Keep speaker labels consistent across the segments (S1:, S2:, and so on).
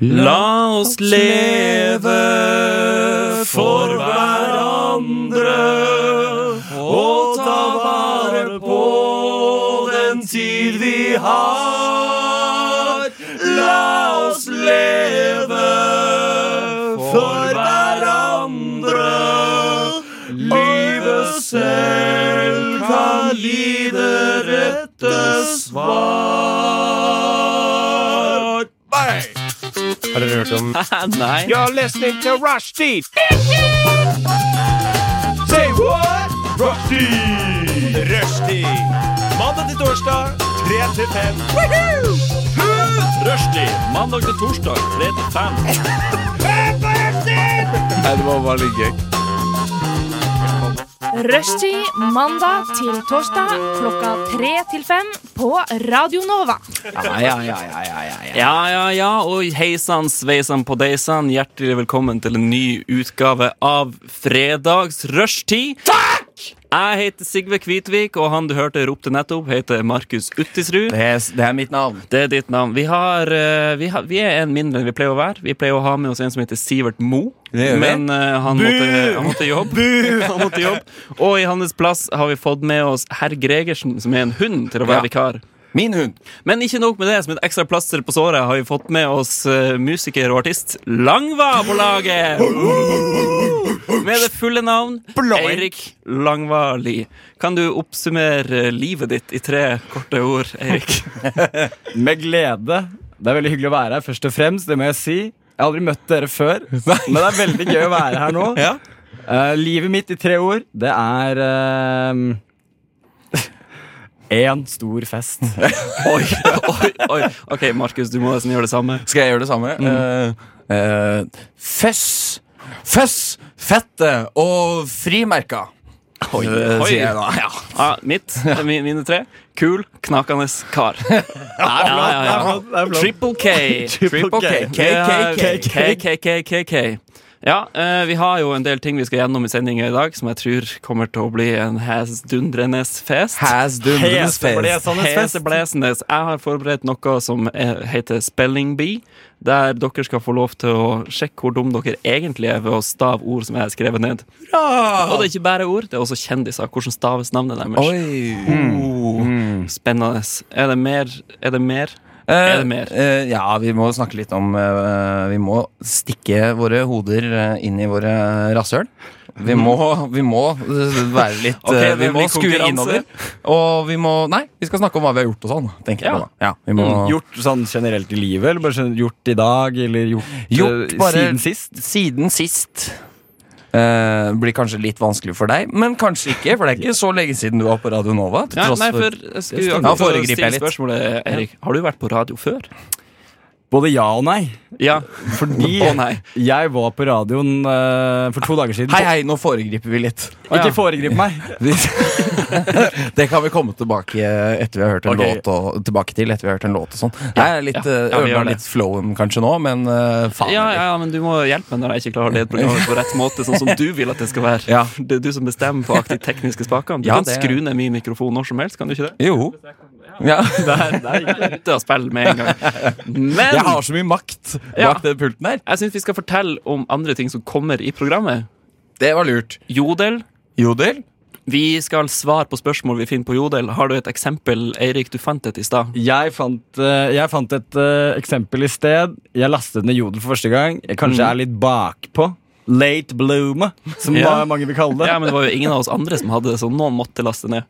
S1: La oss leve for hverandre og ta vare på den tid vi har. La oss leve for hverandre. Livet selv kan lide rette svar. Bang!
S2: Har dere hørt om
S1: Nei.
S2: You're listening to Rushdie! Say what? Rushdie! Rushdie! Mandag til torsdag, 3 til 5.
S1: Rushdie, mandag til torsdag, 3 til 5.
S3: Nei, det var bare litt gøy.
S4: Rushtid mandag til torsdag klokka tre til fem på Radio Nova.
S3: Ja, ja, ja, ja, ja, ja, ja.
S1: Ja, ja, ja, og hei sann, sveisann på deisann. Hjertelig velkommen til en ny utgave av Fredags rushtid. Takk! Jeg heter Sigve Kvitvik, og han du hørte ropte nettopp, heter Markus Uttisrud.
S3: Det er, det er mitt navn.
S1: Det er ditt navn. Vi, har, eh, vi, har, vi er en mindre enn vi pleier å være. Vi pleier å ha med oss en som heter Sivert Mo.
S3: Det gjør vi.
S1: Men eh, han,
S3: Bu!
S1: måtte, han måtte jobbe. Han måtte jobbe. Og i hans plass har vi fått med oss herr Gregersen, som er en hund, til å være
S3: Ja.
S1: vikar.
S3: Min hund.
S1: Men ikke nok med det, som et ekstra plaster på såret har vi fått med oss eh, musiker og artist Langva på laget. Med det fulle navn Eirik Langva Li. Kan du oppsummere eh, livet ditt i tre korte ord, Eirik?
S5: Med glede. Det er veldig hyggelig å være her, først og fremst. Det må jeg si. Jeg har aldri møtt dere før, men det er veldig gøy å være her nå.
S3: Ja.
S5: Eh, livet mitt i tre ord, det er Én stor fest.
S1: Oi, oi, oi. Ok, Markus, du må nesten gjøre det samme.
S3: Skal jeg gjøre det samme? Eh, eh, fess, fess, fette og frimerka. Oi,
S1: oi.
S3: sier jeg da. Ja.
S1: Ja, mitt, mi- mine tre. Kul, knakende kar. Ja, ja, ja. Triple K.
S3: Triple K.
S1: KKKKKKK. Ja, eh, vi har jo en del ting vi skal gjennom i sendinga i dag, som jeg tror kommer til å bli en hesdundrende fest.
S3: Has dundrens face.
S1: Heseblesende. Jeg har forberedt noe som er, heter Spelling Bee, der dere skal få lov til å sjekke hvor dum dere egentlig er ved å stave ord som jeg har skrevet ned. Og det er ikke bare ord, det er også kjendiser. Hvordan staves navnet deres?
S3: Ah. Oi. Oh.
S1: Spennende. Er det mer? Er det mer?
S3: Eh,
S1: Er det mer?
S3: eh, ja, vi må snakke litt om eh, Vi må stikke våre hoder eh, inn i våre rasshøl. Vi må, vi må eh, være litt
S1: Ok,
S3: eh, Vi
S1: det
S3: må
S1: blir
S3: skue
S1: konkurranse.
S3: innover. Og vi må Nei, vi skal snakke om hva vi har gjort og sånn. Tenker
S1: Ja. Mm,
S3: jeg på da. Ja, vi må,
S5: Gjort sånn generelt i livet, eller bare sånn gjort i dag, eller gjort, eh,
S3: Gjort bare-
S5: siden sist?
S3: Siden sist eh, blir kanskje litt vanskelig for deg, men kanskje ikke. For det er ikke så lenge siden du var på Radio Nova. Til
S1: Ja,
S3: tross
S1: nei, for
S3: for
S1: jeg skulle
S3: Nå
S1: akkurat
S3: foregriper jeg
S1: stille
S3: litt.
S1: spørsmålet, Erik. Har du vært på radio før?
S5: Både ja og nei.
S1: Ja.
S5: Fordi
S1: Å nei.
S5: jeg var på radioen eh, for to dager siden.
S3: Hei, hei, nå foregriper vi litt.
S1: ja.
S5: Ikke foregrip meg.
S3: Det kan vi komme tilbake etter vi har hørt en
S5: Ok.
S3: låt og, tilbake til etter vi har hørt en låt og sånn. Jeg er litt,
S1: ja.
S3: ja,
S1: Ja, vi gjør det.
S3: litt flowen kanskje nå, men eh, faen.
S1: Ja,
S3: heller.
S1: ja, men du må hjelpe meg når jeg ikke klarer å lede programmet på rett måte, sånn som du vil at det skal være.
S3: Ja.
S1: Det er du som bestemmer på aktivt tekniske spakene. Du
S3: Ja,
S1: kan
S3: det-
S1: skru ned min mikrofon når som helst, kan du ikke det?
S3: Jo. Ja.
S1: Der, der gikk jeg ute av spill med en gang. Men
S3: Jeg har så mye makt
S1: Ja.
S3: bak den pulten her.
S1: jeg syns vi skal fortelle om andre ting som kommer i programmet.
S3: Det var lurt.
S1: Jodel.
S3: Jodel?
S1: Vi skal svare på spørsmål vi finner på Jodel. Har du et eksempel, Eirik? Du fant et i stad.
S5: Jeg fant, eh, jeg fant et eh, eksempel i sted. Jeg lastet ned Jodel for første gang. Jeg kanskje
S1: Mhm.
S5: er litt bakpå. Late bloomer, som
S1: Ja.
S5: ma- mange vil kalle det.
S1: Ja, men det var jo ingen av oss andre som hadde det, så noen måtte laste ned.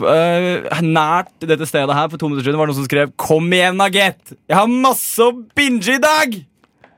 S5: Eh, nært dette stedet her for to minutter siden var det noen som skrev 'Kom igjen, Nagett! Jeg har masse å binge i dag!'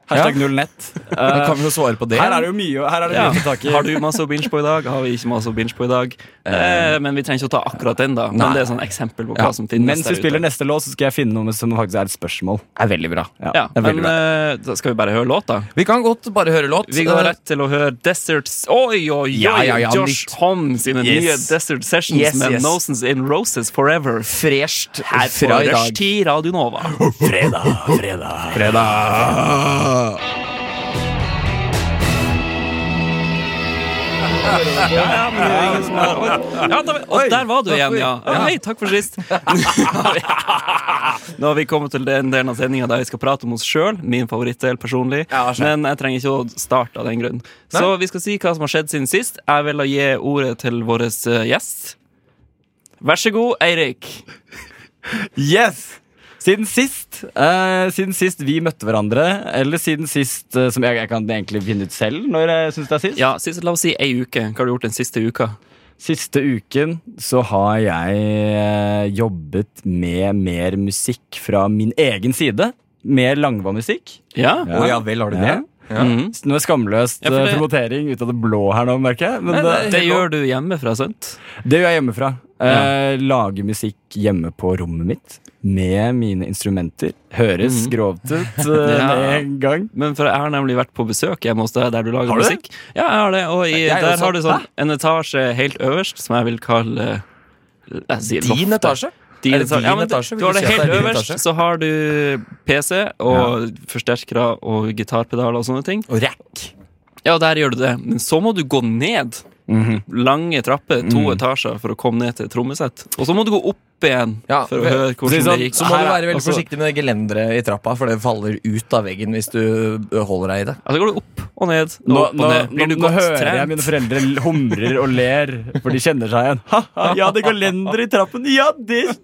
S5: Hashtag null nett.
S3: Da
S5: Eh,
S3: kan vi jo svare på det.
S5: her er det jo mye, å- her er det
S1: Ja.
S5: mye å ta tak i.
S1: Har du masse å binge på i dag? Har vi ikke masse å binge på i dag? Eh, men vi trenger ikke å ta akkurat den, da. Men
S3: Nei.
S1: det er sånn eksempel på hva
S3: Ja,
S1: som finnes
S5: Mens vi
S1: der
S5: spiller
S1: ute.
S5: neste låt, så skal jeg finne noe som faktisk er et spørsmål.
S3: er veldig bra.
S1: Ja,
S3: Det er veldig
S1: men eh, da skal vi bare høre låta?
S3: Vi kan godt bare høre låt. Eh,
S1: Vi går rett til å høre Deserts Oi, oi, oi!
S3: Ja, ja, ja,
S1: Josh
S3: nytt.
S1: Homme sine nye
S3: Yes.
S1: Desert Sessions
S3: Yes,
S1: med
S3: yes.
S1: Noses in Roses Forever.
S3: Fresht
S1: Her på
S3: fra i dag.
S1: Rushtid Radio Nova.
S3: Fredag.
S1: Ja, men det er ingen som har- Oi. Ja, da, og der var du igjen, ja. ja. Hei, takk for sist. Nå har vi kommet til den delen av sendinga der vi skal prate om oss sjøl. Min favorittdel personlig.
S3: Ja, skjønner.
S1: men jeg trenger ikke å starte av den grunn. Så vi skal si hva som har skjedd siden sist. Jeg vil da gi ordet til vår eh, gjest. Vær så god, Eirik.
S5: Yes! Siden sist, eh, siden sist vi møtte hverandre, eller siden sist eh, som jeg, jeg kan egentlig finne ut selv når jeg syns det er sist.
S1: Ja, sist, La oss si ei uke. Hva har du gjort den siste uka?
S5: Siste uken så har jeg eh, jobbet med mer musikk fra min egen side. Mer langva-musikk.
S1: Ja? Mhm.
S3: Å ja vel, har du det?
S5: Ja. Noe skamløst
S1: Ja, for
S5: eh,
S1: det-
S5: promotering ut av det blå her nå, merker jeg. Men det,
S1: eh, Det gjør du hjemmefra, sant?
S5: det gjør jeg hjemmefra. Eh, Lage musikk hjemme på rommet mitt med mine instrumenter. Høres grovt ut eh,
S1: Mhm. Ja.
S5: med en gang.
S1: Men for jeg har nemlig vært på besøk hjemme hos deg der du lager
S5: Har du det?
S1: musikk. Ja, jeg har det Og i,
S5: Jeg
S1: der
S5: også.
S1: har du sånn en etasje helt øverst som jeg vil kalle jeg sier
S3: Din
S1: loftet.
S3: etasje?
S1: Din
S3: Er det
S1: etasje.
S3: din
S1: Ja, men
S3: etasje? Vil
S1: Du har
S3: du
S1: det
S3: si at
S1: helt
S3: det er din
S1: øverst,
S3: etasje?
S1: så har du PC og forsterkere og gitarpedaler og sånne ting.
S3: Og rack.
S1: Ja, og der gjør du det. Men så må du gå ned
S3: Mhm.
S1: lange trapper, to etasjer, for å komme ned til trommesett. Og så må du gå opp igjen
S3: Ja,
S1: for å
S3: vel,
S1: høre hvordan
S5: sånn,
S1: det gikk.
S3: Så må
S5: Her
S3: du
S5: er-
S3: være veldig
S5: altså-
S3: forsiktig med det gelenderet i trappa, for det faller ut av veggen hvis du ø, holder deg i det.
S1: Ja, så altså, går du opp og ned. og
S5: Nå,
S1: opp og
S5: nå,
S1: ned. Blir
S5: nå,
S1: du
S5: nå
S1: godt
S5: hører jeg
S1: trent?
S5: mine foreldre l- humrer og ler, for de kjenner seg igjen. Ha-ha, ja, det går lender i trappen! Ja, det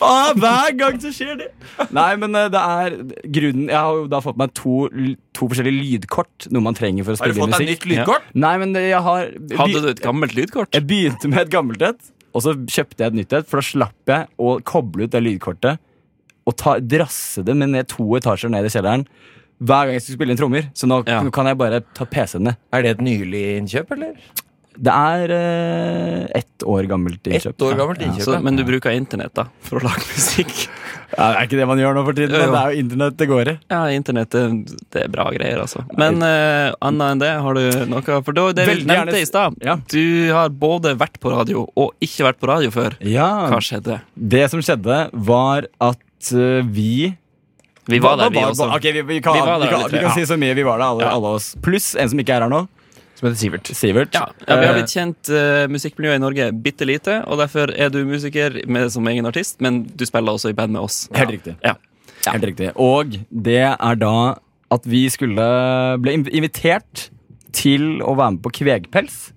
S5: ah, Hver gang så skjer det! Nei, men eh, det er grunnen Jeg har jo da fått meg to, l- to forskjellige lydkort, noe man trenger for å
S3: Har
S5: spille
S3: du fått
S5: inn
S3: deg
S5: musikk.
S3: nytt lydkort?
S5: Nei, men eh, jeg har
S1: Hadde du et gammelt lydkort?
S5: Jeg begynte med et gammelt et, og så kjøpte jeg et nytt et, for da slapp jeg å koble ut det lydkortet og ta, drasse det med ned to etasjer ned i kjelleren hver gang jeg skulle spille inn trommer. Så nå
S1: Ja.
S5: kan jeg bare ta PC-en ned.
S3: Er det et nylig innkjøp, eller?
S5: Det er eh, ett år gammelt innkjøp.
S3: Ett år gammelt
S1: Så,
S3: innkjøp. ja.
S1: Altså, men du bruker internett da for å lage musikk?
S5: Ja, det er ikke det man gjør nå for tiden,
S1: Jo, jo.
S5: men det er jo internett det går i.
S1: Ja, internett det, det er bra greier, altså. Men uh, annet enn det, har du noe? For da, det vi
S5: Veldig gjerne-
S1: nevnte i stad,
S5: Ja.
S1: du har både vært på radio og ikke vært på radio før. Hva skjedde?
S5: Det som skjedde, var at eh, vi
S1: Vi var der, vi
S5: Hva- hva-
S1: også.
S5: Ok, vi, vi kan,
S1: Vi
S5: vi,
S1: var der,
S5: kan,
S1: alle
S5: vi
S1: tre.
S5: kan si så mye. Vi var der, alle,
S1: Ja.
S5: alle oss. Pluss en som ikke er her nå.
S3: Som heter Sivert.
S5: Sivert.
S1: Ja, ja, Vi har
S5: Eh,
S1: blitt kjent eh, musikkmiljøet i Norge bitte lite, og derfor er du musiker med, som egen artist, men du spiller også i band med oss.
S5: Eh, Helt riktig.
S1: Ja.
S5: Helt riktig. Og det er da at vi skulle ble inv- invitert til å være med på Kvegpels.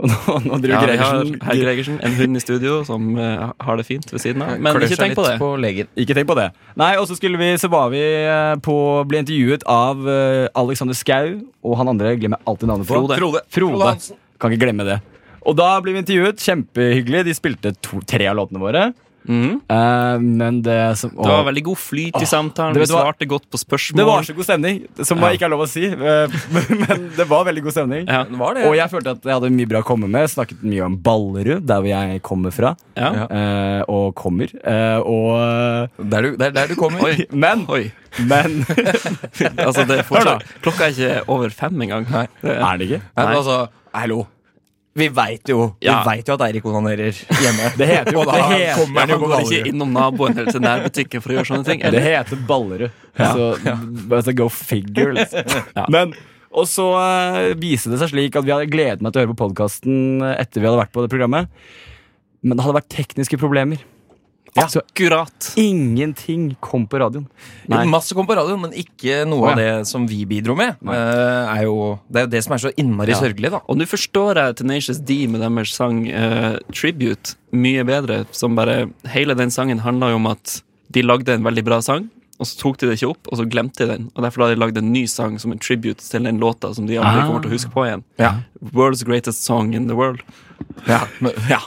S5: Og nå, nå driver
S1: Ja, vi har
S5: Gregersen
S1: herr Gregersen, en hund i studio som eh, har det fint ved siden av. Men
S3: Klør
S1: ikke
S3: seg
S1: tenk på
S3: litt
S1: det.
S3: På legen.
S5: Ikke tenk på det. Nei, og så skulle vi, så var vi eh, på, ble intervjuet av eh, Alexander Skau og han andre glemmer jeg alltid navnet på.
S1: Frode.
S3: Frode. Frode
S5: Frode.
S3: Hansen.
S5: Kan ikke glemme det. Og da ble vi intervjuet. Kjempehyggelig. De spilte to, tre av låtene våre.
S1: Mhm.
S5: Eh, men det som
S1: Det var veldig god flyt i samtalen.
S5: du
S1: Vi
S5: vet hva?
S1: svarte godt på spørsmål.
S5: Det var så god stemning, som
S1: Ja.
S5: ikke er lov å si. eh, Men det var veldig god stemning.
S1: Ja.
S3: Var det?
S5: Og jeg følte at jeg hadde mye bra å komme med. Snakket mye om Ballerud, der hvor jeg kommer fra.
S1: Ja.
S3: Ja.
S5: eh, Og kommer. eh, Og
S3: Der du, der, der du kommer.
S1: Oi.
S5: Men!
S1: Oi.
S5: Men
S1: Altså, det er
S5: Hør
S1: fortsatt,
S5: da.
S1: klokka er ikke over fem engang.
S3: Nei.
S1: Det er-
S5: er det ikke?
S3: Nei, men
S1: Nei.
S3: altså, hallo. Vi veit jo
S1: Ja.
S3: Vi vet jo at Eirik onanerer hjemme.
S5: Det heter jo
S3: Og da
S5: det heter,
S3: kommer
S1: Han
S3: han jo på
S1: går ikke
S3: Gallerud.
S1: innom naboen eller til nærbutikken for å gjøre sånne ting.
S5: Det
S1: Eller?
S5: heter Ballerud. Altså, altså, go figure, liksom.
S1: Ja.
S5: Men og så eh, viste det seg slik at vi hadde gledet meg til å høre på podkasten etter vi hadde vært på det programmet. Men det hadde vært tekniske problemer. Så
S1: Akkurat.
S5: ingenting kom på radioen.
S1: Nei.
S3: Masse kom på radioen, men ikke noe
S5: Å, ja.
S3: av det som vi bidro med. Eh, er jo, det er jo det som er så innmari
S5: Ja.
S3: sørgelig, da.
S1: Og nå forstår jeg Tenacious D med deres sang eh, Tribute mye bedre. Som bare, hele den sangen handla jo om at de lagde en veldig bra sang, og så tok de det ikke opp, og så glemte de den. Og derfor har de lagd en ny sang som en tribute til den låta som de aldri
S5: Ah.
S1: kommer til å huske på igjen.
S3: Ja.
S1: World's greatest song in the world.
S3: Ja, men, ja.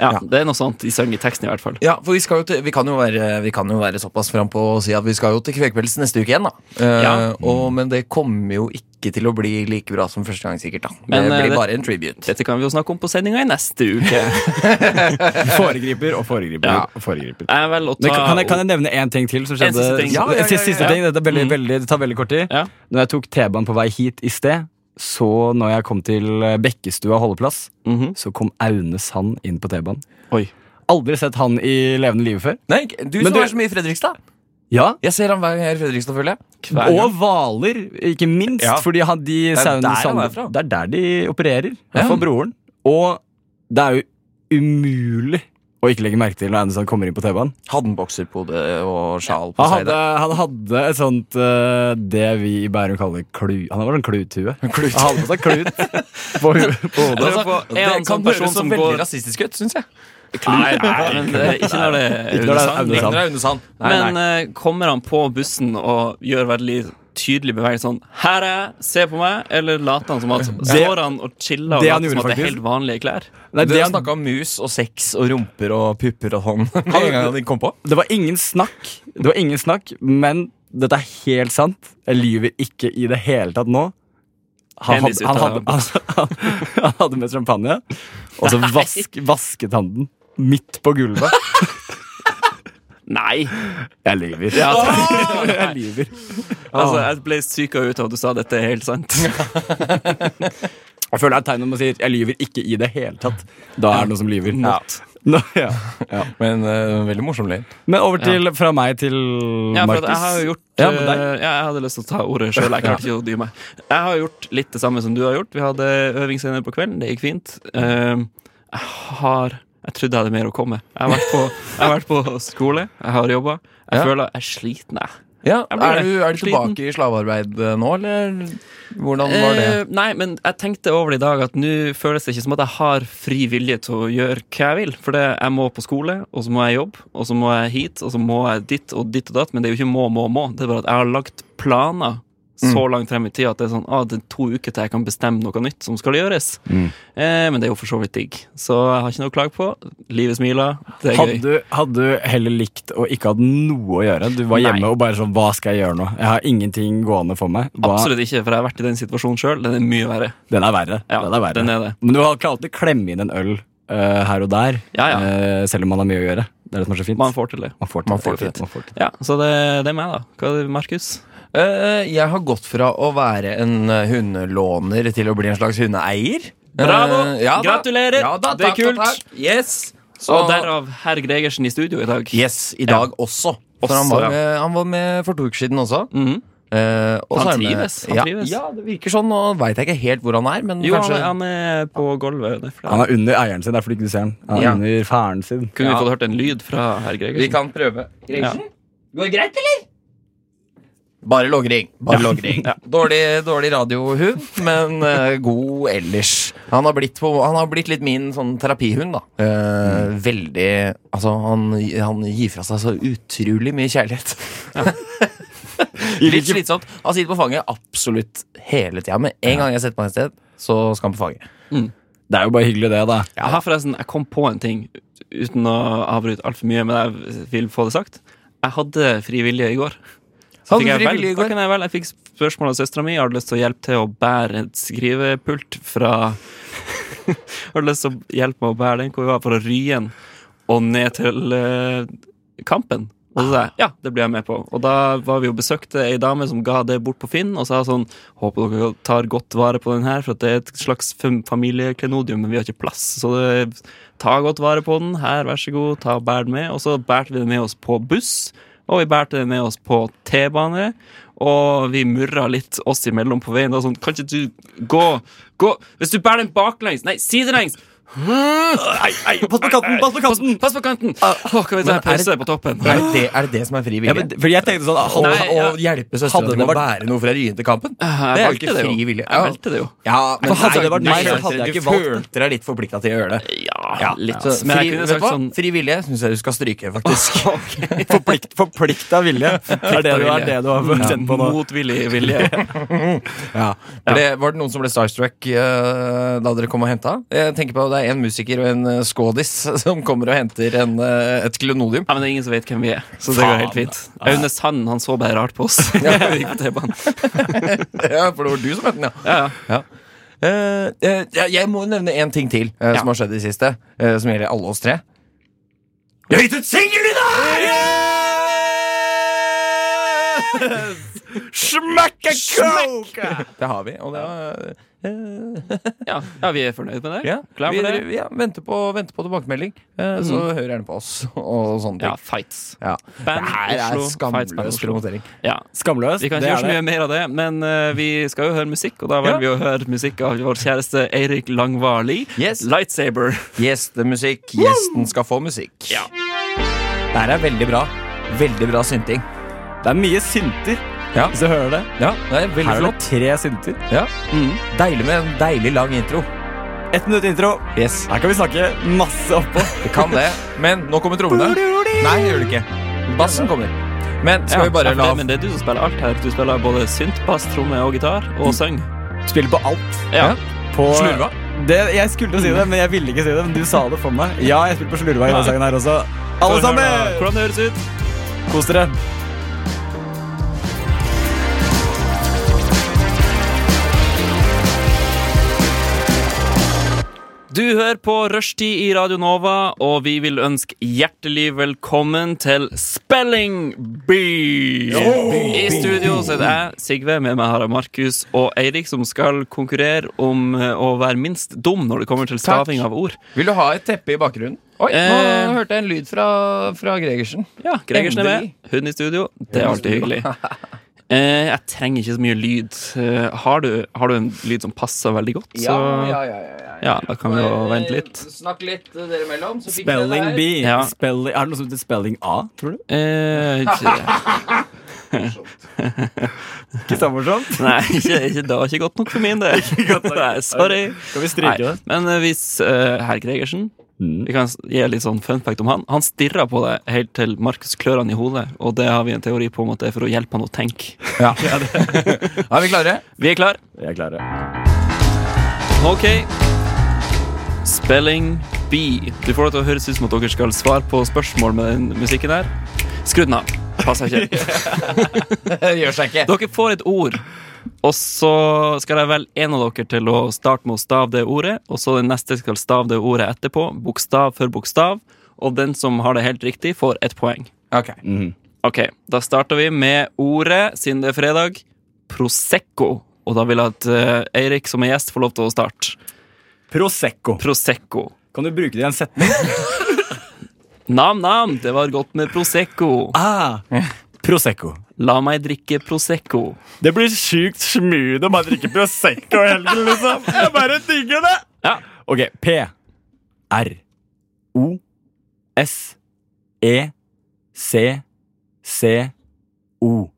S1: Ja,
S3: Ja.
S1: Det er noe sånt de synger i teksten, i hvert fall.
S3: ja for vi, skal jo til, vi, kan jo være, vi kan jo være såpass frampå og si at vi skal jo til Kvegpels neste uke igjen, da. Eh,
S1: Ja.
S3: og, men det kommer jo ikke til å bli like bra som første gang, sikkert. da
S1: Men,
S3: Det
S1: eh,
S3: blir
S1: det-
S3: bare en tribute.
S1: Dette kan vi jo snakke om på sendinga i neste uke.
S5: Foregriper og foregriper.
S1: Ja.
S5: og foregriper.
S1: Jeg velger å
S5: Men
S1: ta
S5: kan, kan, jeg, kan jeg nevne én ting til? som skjedde?
S1: siste ting. Ja,
S3: ja, ja,
S5: Siste
S3: ja, ja.
S5: ting, Dette er veldig, veldig, det tar veldig kort tid.
S1: Ja.
S5: Når jeg tok T-banen på vei hit i sted, så når jeg kom til eh, Bekkestua holdeplass,
S1: Mhm.
S5: så kom Aune Sand inn på T-banen.
S1: Oi.
S5: Aldri sett han i levende live før.
S3: Nei, du
S5: Men
S3: som
S5: du-
S3: er så mye i Fredrikstad.
S5: Ja,
S3: Jeg ser han hver gang jeg er i Fredrikstad, føler jeg.
S1: Hver gang.
S5: Og hvaler, ikke minst.
S3: Ja.
S5: Fordi han, de
S3: er
S5: sauene
S3: der han
S5: Sand-
S3: er fra.
S5: Det er der de opererer.
S3: Ja.
S5: Ja. For broren. Og det er jo umulig og ikke legger merke til når Anderson kommer inn på T-banen.
S3: Hadde han bokser på hodet og sjal på
S5: Han
S3: seg?
S5: hadde,
S3: der?
S5: han hadde et sånt eh, det vi i Bærum kaller klu... Han var en kluthue.
S3: Klut.
S5: Han hadde på seg klut på, hu- på hodet.
S1: Eller på- er han
S3: Altså, det kan
S1: sånn person
S3: høres så
S1: som
S3: veldig
S1: går-
S3: rasistisk ut, syns jeg.
S1: Nei, men det, er ikke når det er
S5: Ikke når det er Aune Sand.
S1: Aune Sand.
S3: Mindre er undersand.
S1: Men eh, kommer han på bussen og gjør veldig tydelig bevegelse sånn Her er jeg, se på meg, eller later han som at Står han og chiller og
S5: det han
S1: later som
S5: gjorde
S1: at det
S5: faktisk.
S1: er helt vanlige klær?
S5: Nei,
S3: Du
S5: det, han,
S3: snakka om mus og sex og rumper og pupper og sånn med en gang de kom på.
S5: det var ingen snakk. Det var ingen snakk, men dette er helt sant. Jeg lyver ikke i det hele tatt nå. Han
S1: Penis
S5: hadde,
S1: ut
S5: han
S1: av
S5: hadde, han, han hadde med champagne, og så vask, vasket han den midt på gulvet.
S1: Nei!
S5: Jeg lyver.
S1: Ja,
S5: Jeg lyver. Ah.
S1: altså, jeg ble syka ut av at du sa dette er helt sant.
S5: Jeg føler det er et tegn når man sier 'jeg lyver ikke i det hele tatt'. Da er det noen som lyver.
S3: Ja.
S5: Nå, ja.
S3: Men eh, veldig morsom lir.
S5: Men over til, fra meg til
S1: Ja, for
S5: Markus.
S1: at jeg har jo gjort
S5: Ja,
S1: eh,
S5: men
S1: ja,
S5: deg.
S1: Jeg hadde lyst til å ta ordet sjøl. Jeg klarte ikke å dy meg. Jeg har gjort litt det samme som du har gjort. Vi hadde øving senere på kvelden. Det gikk fint. Eh, jeg har Jeg trodde jeg hadde mer å komme med. Jeg har vært på, jeg har vært på skole. Jeg har jobba. Jeg
S3: Ja.
S1: føler jeg er sliten, jeg.
S3: Ja,
S1: Jeg blir
S3: er, du, er du
S1: sliten.
S3: tilbake i slavearbeid eh, nå, eller hvordan var det?
S1: Eh, nei, men jeg tenkte over det i dag at nå føles det ikke som at jeg har fri vilje til å gjøre hva jeg vil. For det, jeg må på skole, og så må jeg jobbe, og så må jeg hit, og så må jeg dit og ditt og datt. Men det er jo ikke må, må, må. Det er bare at jeg har lagt planer så langt frem i tida at det er sånn ah, det er to uker til jeg kan bestemme noe nytt som skal gjøres. Eh, men det er jo for så vidt digg. Så jeg har ikke noe å klage på. Livet smiler. Det er
S5: Hadde
S1: gøy.
S5: du, hadde du heller likt å ikke hatt noe å gjøre? Du var
S1: Nei.
S5: hjemme og bare sånn 'Hva skal jeg gjøre nå?' Jeg har ingenting gående for meg. Hva?
S1: Absolutt ikke, for jeg har vært i den situasjonen sjøl. Den er mye verre.
S5: Den er verre.
S1: Ja,
S5: den er verre.
S1: den er det.
S5: Men du har klart å klemme inn en øl eh, her og der,
S1: Ja, ja.
S5: eh, selv om man har mye å gjøre. Det er det som er så fint.
S1: Man får til det.
S5: Man får
S3: Man
S5: det.
S3: får til det.
S5: Man får til det.
S1: Ja, Så det, det er meg, da. Hva er det, Markus?
S3: Eh, jeg har gått fra å være en eh, hundelåner til å bli en slags hundeeier.
S1: Bravo!
S3: Eh, ja da.
S1: Gratulerer!
S3: Ja da,
S1: Det er
S3: takk, takk,
S1: kult.
S3: takk. Yes. Så,
S1: Og derav herr Gregersen i studio i dag.
S3: yes, i dag også. For han
S1: Også,
S3: var,
S1: ja.
S3: med, han var med for to uker siden også.
S1: Mhm.
S3: Eh, og
S1: Han
S3: så er med-
S1: trives, han
S3: ja,
S1: trives.
S3: Ja, det virker sånn. Nå veit jeg ikke helt hvor han er, men
S1: Jo, han,
S3: kanskje
S1: er- han er på gulvet. Det er fordi
S5: Han er under eieren sin, det er fordi du ikke ser han. Han er
S3: Ja.
S5: under faren sin.
S1: Kunne
S3: Ja.
S1: vi fått hørt en lyd fra herr
S3: Vi
S1: Gregersen?
S3: kan prøve.
S1: Ja.
S3: Går det greit, eller? Bare logring. Bare logring. Dårlig, dårlig radiohund, men eh, god ellers. Han har, blitt på, han har blitt litt min sånn terapihund, da. Eh, Veldig Altså, han, han gir fra seg så utrolig mye kjærlighet. litt slitsomt. Han sitter på fanget absolutt hele tida, men en gang jeg setter meg et sted, så skal han på fanget.
S5: Det er jo bare hyggelig, det, da.
S1: Jeg har forresten, jeg kom på en ting uten å avbryte altfor mye, men jeg vil få det sagt. Jeg hadde fri vilje i går. Så fikk
S3: Hadde du
S1: jeg
S3: fri vilje i
S1: vel, da
S3: går?
S1: kunne jeg vel, jeg fikk spørsmål av søstera mi. Har du lyst til å hjelpe til å bære et skrivepult fra Har du lyst til å hjelpe meg å bære den hvor vi var, fra Ryen og ned til eh, Kampen? Og så sa jeg ja, det blir jeg med på. Og da var vi og besøkte ei dame som ga det bort på Finn, og sa sånn Håper dere tar godt vare på den her, for at det er et slags fam- familieklenodium, men vi har ikke plass. Så det, ta godt vare på den. Her, vær så god, ta og bær den med. Og så bærte vi den med oss på buss, og vi bærte den med oss på T-bane. Og vi murra litt oss imellom på veien. Da, sånn, kan ikke du gå, gå Hvis du bærer den baklengs, nei, sidelengs!
S5: Pass på katten! Pass på katten!
S1: Pass på kanten! Åh, kan vi ta en
S3: Ah. er det-
S1: pause på toppen?
S3: Er det, er det det som er fri
S5: Ja,
S3: vilje?
S5: men, fordi jeg tenkte sånn hold,
S1: Nei,
S3: å,
S1: ja.
S3: å hjelpe
S5: Hadde
S3: søstera til
S5: det
S3: å
S5: vært-
S3: bære noe fra Ryen til Kampen?
S1: Jeg
S3: det er jo
S1: valgte
S3: ikke
S1: det jo.
S3: fri vilje.
S1: Jeg valgte det jo.
S3: Ja, men
S5: For hadde
S3: nei,
S5: det vært
S3: nei,
S5: meg, så
S3: jeg
S5: hadde jeg
S3: følte-
S5: ikke valgt
S3: Du følte deg litt forplikta til å gjøre det.
S1: Ja, litt.
S3: Så
S1: Men
S3: fri,
S1: jeg kunne
S3: vet du
S1: sagt
S3: hva?
S1: sånn
S3: fri vilje syns jeg du skal stryke, faktisk.
S5: Forplikt, forplikta vilje. Det er det du, er det du har kjent på nå.
S1: motvillig vilje.
S3: Ja. For det var det noen som ble starstruck eh, da dere kom og henta? Jeg tenker på at Det er en musiker og en eh, skådis som kommer og henter en, eh, et klenodium.
S1: Ja, men det er ingen som vet hvem vi er, så det går helt fint. Aune Sand han så bare rart på oss. Vi gikk på T-banen.
S3: Ja, for det var du som het den, ja.
S1: Ja, ja.
S3: Eh, eh, ja, jeg må nevne én ting til eh, som har skjedd i det siste, eh, som gjelder alle oss tre. Jeg har gitt ut singel i dag! Smekke coke! Det har vi, og det var
S1: Ja, ja vi er fornøyd med det.
S3: ja,
S1: Klar for
S3: vi,
S1: det? Mm.
S3: vi- Ja, venter, på, venter på tilbakemelding. Eh, Så hør gjerne på oss og sånne
S1: Ja,
S3: ting.
S1: fights.
S3: Ja.
S1: Band
S3: Det her er
S1: Oslo, Fights Band
S3: skamløs
S1: Oslo.
S3: promotering.
S1: Ja.
S5: Skamløs.
S1: Vi kan ikke gjøre så mye mer av det, men eh, vi skal jo høre musikk, og da
S3: Ja.
S1: velger vi å høre musikk av vår kjæreste Eirik Langvarli.
S3: Yes.
S1: Lightsaber.
S3: Gjestemusikk. Gjesten skal få musikk.
S1: Ja.
S3: Det her er veldig bra. Veldig bra synting.
S5: Det er mye synter,
S3: Ja.
S5: hvis du hører det.
S3: Ja, det er veldig
S5: Her er det
S3: flott.
S5: tre synter.
S3: Ja. Deilig med en deilig lang intro.
S5: Ett minutt intro.
S3: Yes,
S5: Her kan vi snakke masse oppå.
S3: det kan det. Men nå kommer trommene. Nei, det gjør det ikke. Bassen kommer. Men skal
S1: Ja,
S3: vi bare
S1: ja, for
S3: la
S1: det, men det er du som spiller alt her. Du spiller både synt, bass, tromme og gitar, og syng.
S5: Spiller på alt.
S1: Ja.
S5: På
S3: Slurva?
S5: Det, jeg skulle si det, men jeg ville ikke si det. Men du sa det for meg. Ja, jeg spiller på slurva i denne sangen her også. Alle sammen!
S1: Hvordan det høres ut?
S5: Kos dere.
S1: Du hører på Rushtid i Radio Nova, og vi vil ønske hjertelig velkommen til Spelling Bee! I studio sitter jeg, Sigve, med meg har jeg Markus og Eirik, som skal konkurrere om eh, å være minst dum når det kommer til staving av ord.
S3: Vil du ha et teppe i bakgrunnen? Oi,
S1: Eh.
S3: nå hørte jeg en lyd fra, fra Gregersen.
S1: Ja, Gregersen er med.
S3: Endelig.
S1: Hun i studio. Det er alltid hyggelig. Eh, Jeg trenger ikke så mye lyd. Eh, Har du, har du en lyd som passer veldig godt, så
S3: ja, Eh. ja, ja.
S1: ja, da kan vi jo vente litt.
S3: Snakk litt eh, dere imellom. så fikk dere
S5: Spelling
S3: det
S5: B.
S3: her.
S1: Ja.
S5: Spelling, er det noe som heter spelling A, tror du?
S1: Eh, ikke-
S5: Ikke så morsomt?
S1: nei, ikke, ikke, det var ikke godt nok for min del. Nei, sorry.
S5: Skal vi
S1: Nei,
S5: stryke det?
S1: men eh, hvis eh, herr Gregersen Vi kan s- gi litt sånn fun fact om han. Han stirra på det helt til Markus klør han i hodet, og det har vi en teori på om at det er for å hjelpe han å tenke.
S3: Er vi klare?
S1: Vi er klar?
S5: Vi er klare.
S1: Ok. Spelling B. Du får det til å høres ut som at dere skal svare på spørsmål med den musikken der. Skru den av. Passer ikke.
S3: Det gjør seg ikke.
S1: Dere får et ord, og så skal jeg velge en av dere til å starte med å stave det ordet, og så den neste skal stave det ordet etterpå, bokstav for bokstav, og den som har det helt riktig, får et poeng.
S3: Ok.
S1: Ok, da starter vi med ordet, siden det er fredag, Prosecco. Og da vil jeg at eh, Eirik som er gjest får lov til å starte.
S5: Prosecco.
S1: Prosecco.
S5: Kan du bruke det i en setning?
S1: Nam-nam, det var godt med Prosecco.
S5: Ah, Prosecco.
S1: La meg drikke Prosecco.
S5: Det blir sjukt smooth om man drikker Prosecco i helgen, liksom. Jeg bare digger det.
S1: Ja.
S5: Ok, P. R. O. S. E. C. C. O.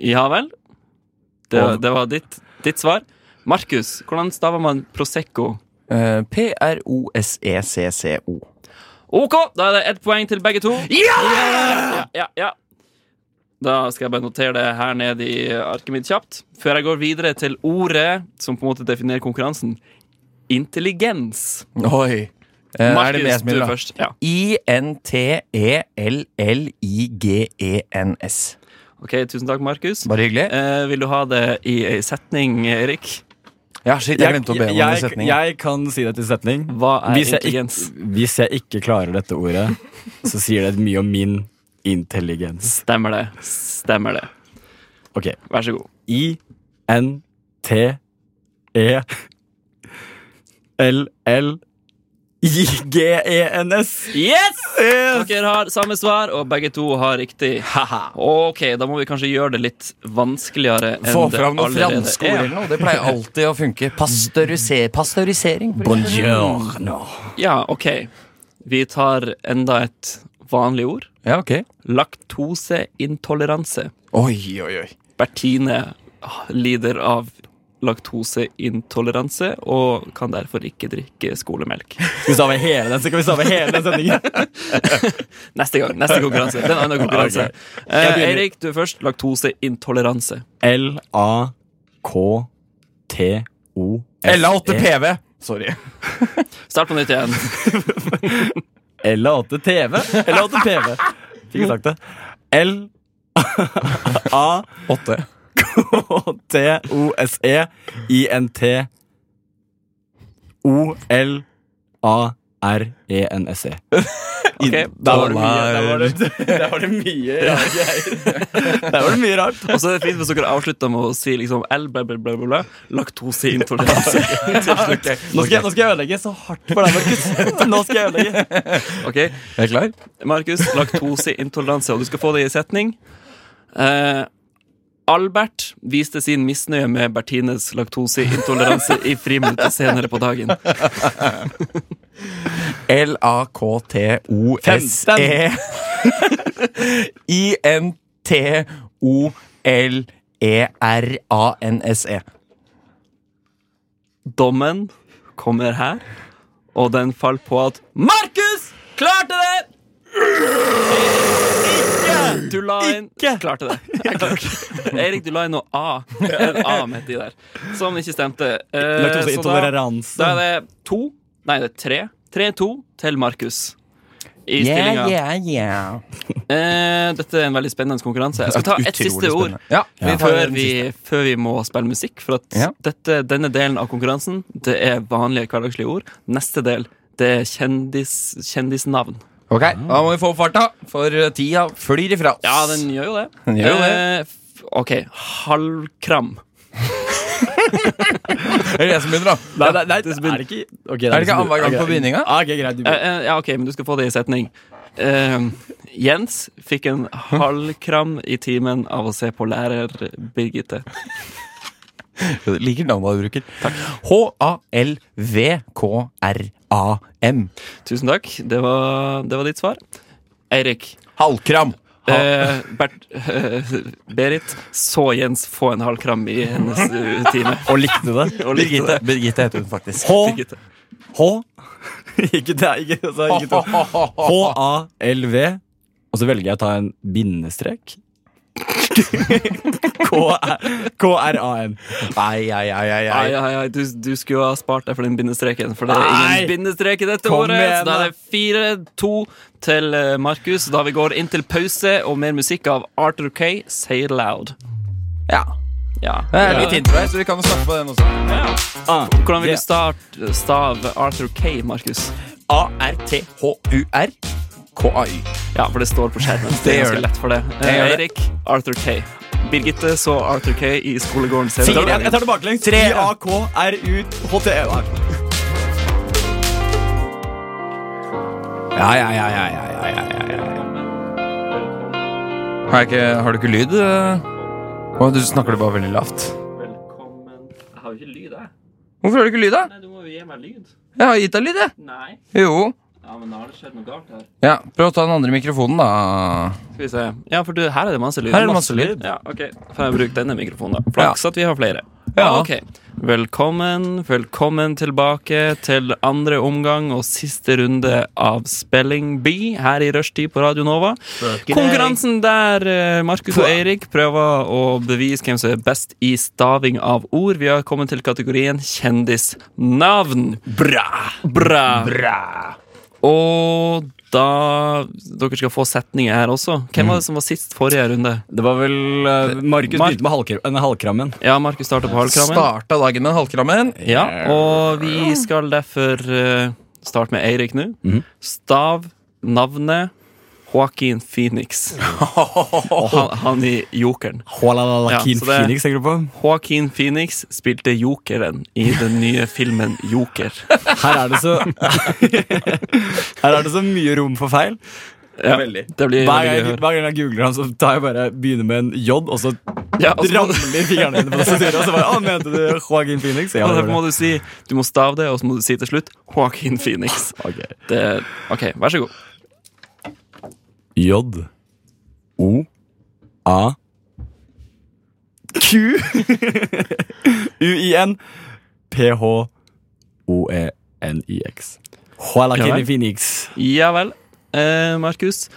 S1: Ja vel? Det, det var ditt, ditt svar. Markus, hvordan staver man Prosecco?
S3: Eh, E P-R-O-S-E-C-C-O.
S1: Ok, da er det ett poeng til begge to. Ja! Ja, ja. Da skal jeg bare notere det her nede i arket mitt kjapt. Før jeg går videre til ordet som på en måte definerer konkurransen. Intelligens.
S3: Oi. Eh, er det
S1: Markus,
S3: det som
S1: du
S3: gjelder, da?
S1: først. Ja.
S3: E I-N-T-E-L-L-I-G-E-N-S.
S1: Ok, Tusen takk, Markus.
S3: Bare hyggelig.
S1: Eh, vil du ha det i ei setning, Erik?
S3: Ja, shit, jeg glemte å be om en
S5: jeg,
S3: setning.
S5: jeg kan si det til setning.
S1: Hva er
S5: Hvis jeg ikke-
S1: intelligens?
S5: Hvis jeg ikke klarer dette ordet, så sier det mye om min intelligens.
S1: Stemmer det. Stemmer det.
S5: Ok.
S1: Vær så god.
S5: I-N-T-E E L-L E I-G-E-N-S
S1: Yes! Dere har samme svar, og begge to har riktig. Ok, Da må vi kanskje gjøre det litt vanskeligere. enn
S3: Få
S1: det
S3: fram noen
S1: allerede
S3: franske ord
S1: er.
S3: eller noe. Det pleier alltid å funke. Pasteurise- pasteurisering. for eksempel.
S5: Buongiorno
S1: Ja, ok. Vi tar enda et vanlig ord.
S3: Ja, ok.
S1: Laktoseintoleranse.
S3: Oi, oi, oi.
S1: Bertine ah, lider av laktoseintoleranse og kan derfor ikke drikke skolemelk.
S5: Skal vi stave hele den, så kan vi stave hele den sendingen
S1: Neste gang. Neste konkurranse. Den andre konkurranse. Eh,
S5: begynner.
S1: Eirik, du er først. Laktoseintoleranse.
S3: E.
S5: L-A-K-T-O-S-E
S3: LA8PV. Sorry.
S1: Start på nytt igjen.
S5: L-A-8-TV L-A-8-PV Fikk jeg sagt det L-A
S3: 8.
S5: E K-T-O-S-E-I-N-T O-L-A-R E R-E-N-S-E.
S1: Ok.
S5: Der var det mye Der var det, der var det mye rare greier. Der var det mye rart.
S1: Og så er det fint hvis dere avslutter med å si liksom L, bla, bla, bla, bla, bla laktoseintoleranse. Til slutt.
S5: Nå skal, jeg, nå skal jeg ødelegge så hardt for deg, Markus. Nå skal jeg ødelegge.
S1: Ok,
S3: Er du klar?
S1: Markus, laktoseintoleranse, og du skal få det i en setning. Eh, Albert viste sin misnøye med Bertines laktoseintoleranse i friminuttet senere på dagen.
S3: L-A-K-T-O-S-E E I-N-T-O-L-E-R-A-N-S-E.
S1: Dommen kommer her, og den falt på at Markus klarte det! Eirik, Ikke! Du la inn Klarte det. Jeg klarte. Eirik, du la inn noe A. En A midt i der. Som ikke stemte. Eh, så da, da
S5: Laktoseintoleranse.
S1: er det to Nei, det er tre. Tre-to til Markus. I
S3: Yeah,
S1: stillinga.
S3: yeah, yeah.
S1: Eh, dette er en veldig spennende konkurranse. Jeg skal ta ett
S3: Utrolig
S1: siste ord
S3: spennende. Ja, vi tar
S1: før,
S3: den
S1: vi,
S3: siste.
S1: før vi må spille musikk. For at
S3: Ja.
S1: dette, denne delen av konkurransen Det er vanlige hverdagslige ord. Neste del det er kjendis, kjendisnavn.
S3: Ok, da må vi få opp farta, for tida flyr ifra oss.
S1: Ja, den gjør jo det.
S3: Den gjør jo det.
S1: Eh, f- OK. Halvkram.
S3: Er det jeg som begynner, da?
S5: Nei, nei, nei, er det ikke Ok,
S3: Er det ikke annenhver gang
S5: Ok,
S3: på begynninga?
S5: Ah, ok, greit, du
S1: Eh, eh, ja, OK, men du skal få det i setning. Eh, Jens fikk en halvkram i timen av å se på lærer Birgitte.
S3: Jeg Liker navnet du bruker. H-a-l-v-k-r-a-m.
S1: Tusen takk. Det var, det var ditt svar. Eirik.
S3: Halvkram. Ha-
S1: Eh, Bert, eh, Berit så Jens få en halv kram i hennes eh, time.
S5: Og likte det.
S1: Og likte
S3: Birgitte.
S1: det.
S3: Birgitte heter hun faktisk.
S5: H,
S1: Birgitte.
S5: H Ikke det, ikke det. så ikke det. H-A-L-V. Og så velger jeg å ta en bindestrek. K-R- K-R-A-N.
S3: Ai, ai, ai, ai,
S1: Ai,
S3: ai.
S1: ai, ai. Du, du skulle jo ha spart deg for den bindestreken, for det er ingen
S5: Nei!
S1: bindestrek i dette
S5: Kom
S1: året.
S5: igjen,
S1: så da
S5: da.
S1: er det 4-2 til eh, Markus, da vi går inn til pause og mer musikk av Arthur Kay, Say It Loud.
S3: Ja.
S1: Ja.
S3: Det er litt intro her, så vi kan jo snakke på den også.
S5: Ah,
S1: Hvordan vil
S5: yeah.
S1: du starte, stave Arthur Kay, Markus?
S3: A-r-t-h-u-r K-a-y.
S1: Ja, for det står på skjermen. Det, er
S3: gjør
S1: ganske
S3: det.
S1: lett for det. Eh,
S3: gjør det.
S1: Eirik, Arthur Kay. Birgitte så Arthur Kay i skolegården senere.
S5: Jeg, jeg tar det baklengs.
S3: Tre.
S5: I-A-K-R-U-H-T-E.
S3: Ja, ja, ja, ja, ja, ja, ja, ja, ja. Har, jeg ikke, har du ikke lyd? eh? Å, du snakker det bare veldig lavt.
S1: Velkommen Jeg har jo ikke lyd, jeg.
S3: Hvorfor har du ikke lyd, da?
S1: Nei, du må jo gi meg lyd.
S3: Jeg har gitt deg lyd, jeg.
S1: Nei.
S3: Jo.
S1: Ja, men da har det skjedd noe galt her.
S3: Ja, Prøv å ta den andre mikrofonen, da.
S1: Skal vi se. Ja, for du, her er det masse lyd.
S3: Her er det masse lyd.
S1: Ja, ok. Får jeg bruke denne mikrofonen, da. Flaks at vi har flere.
S3: Ja.
S1: ok. Velkommen, velkommen tilbake til andre omgang og siste runde av Spelling Bee her i rushtid på Radio Nova. Konkurransen der eh, Markus og Eirik prøver å bevise hvem som er best i staving av ord. Vi har kommet til kategorien kjendisnavn. Bra! Bra. Og da Dere skal få setninger her også. Hvem var det som var sist forrige runde?
S5: Det var vel eh, Markus
S1: Mark-
S5: begynte med halvkram, en halvkrammen.
S1: Ja, Markus starter på halvkrammen.
S3: Starta dagen med en halvkrammen.
S1: Ja, og vi skal derfor eh, starte med Eirik nå.
S5: Mhm.
S1: Stav navnet Joaquin Phoenix. Og han, han i Jokeren.
S5: Hålalalakin
S1: Ja, så det-
S5: Phoenix, tenker du på?
S1: Joaquin Phoenix spilte Jokeren i den nye filmen Joker.
S5: Her er det så Her er det så mye rom for feil.
S1: Ja,
S5: Veldig.
S1: Det
S5: Hver
S1: blir veldig
S5: gang,
S1: gøy. å høre.
S5: hver gang jeg googler han, så tar jeg bare, begynner med en J, og så
S1: Ja, og så må du-
S5: ramler fingrene mine på tastaturet. Og så bare, å, mente du Joaquin Phoenix? Ja,
S1: og
S5: det
S1: derfor
S5: var
S1: må
S5: det.
S1: du si Du må stave det, og så må du si til slutt Joaquin Phoenix.
S5: Ok.
S1: Det, OK, vær så god.
S5: J O A Q U I N P H O E N I X. Joaquin
S1: Ja vel.
S5: Phoenix.
S1: Ja vel. Eh, Markus.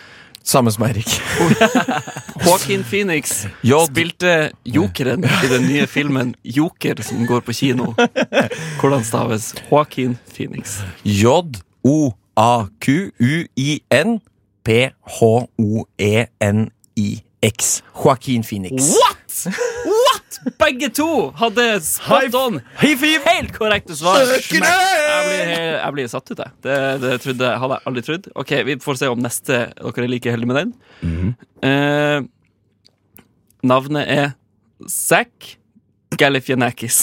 S3: Samme som Eirik.
S1: Joaquin Phoenix spilte jokeren i den nye filmen Joker som går på kino. Hvordan staves Joaquin Phoenix?
S3: E J-o-a-q-u-i-n-p-h-o-e-n-i-x. Joaquin Phoenix.
S1: What?! What?! begge to hadde spot on
S5: High five!
S1: helt korrekte svar. Jeg blir, he- jeg blir satt ut, jeg. Det, det trodde, jeg- hadde jeg aldri trodd. Ok, Vi får se om neste dere er like heldige med den.
S5: Mhm.
S1: Eh, navnet er Zack Galifianakis.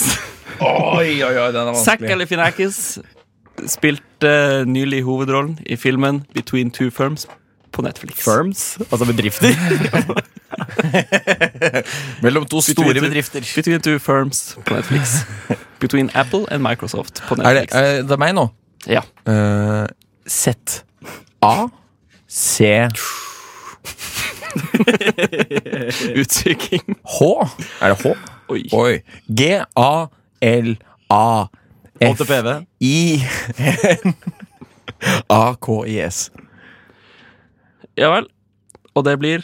S3: Oi, oi, oi, den er
S1: Zack
S3: vanskelig.
S1: Galifianakis spilte eh, nylig hovedrollen i filmen Between Two Firms på Netflix.
S5: Firms, altså bedrifter.
S3: Mellom to store bedrifter.
S1: Between Two Firms på Netflix. Between Apple and Microsoft på
S3: Er det,
S1: Netflix.
S3: er det meg nå?
S1: Ja.
S3: Eh, Z A C
S1: Utsyking.
S3: H Er det H?
S1: Oi.
S3: Oi. G A L A F
S5: HTPV.
S3: I N A K I S
S1: Ja vel. Og det blir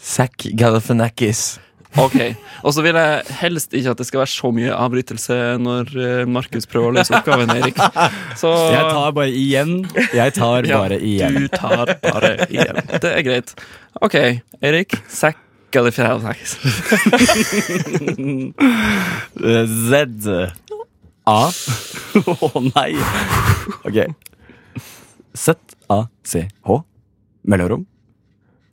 S3: Zack Galifianakis.
S1: Ok. Og så vil jeg helst ikke at det skal være så mye avbrytelse når eh, Markus prøver å løse oppgaven, Erik. Så
S5: Jeg tar bare igjen. Jeg tar
S1: Ja,
S5: bare igjen.
S1: Du tar bare igjen. Det er greit. OK, Erik. Zack Galifianakis.
S5: Eh, Z A Å nei. Ok. Z A C H. Mellomrom.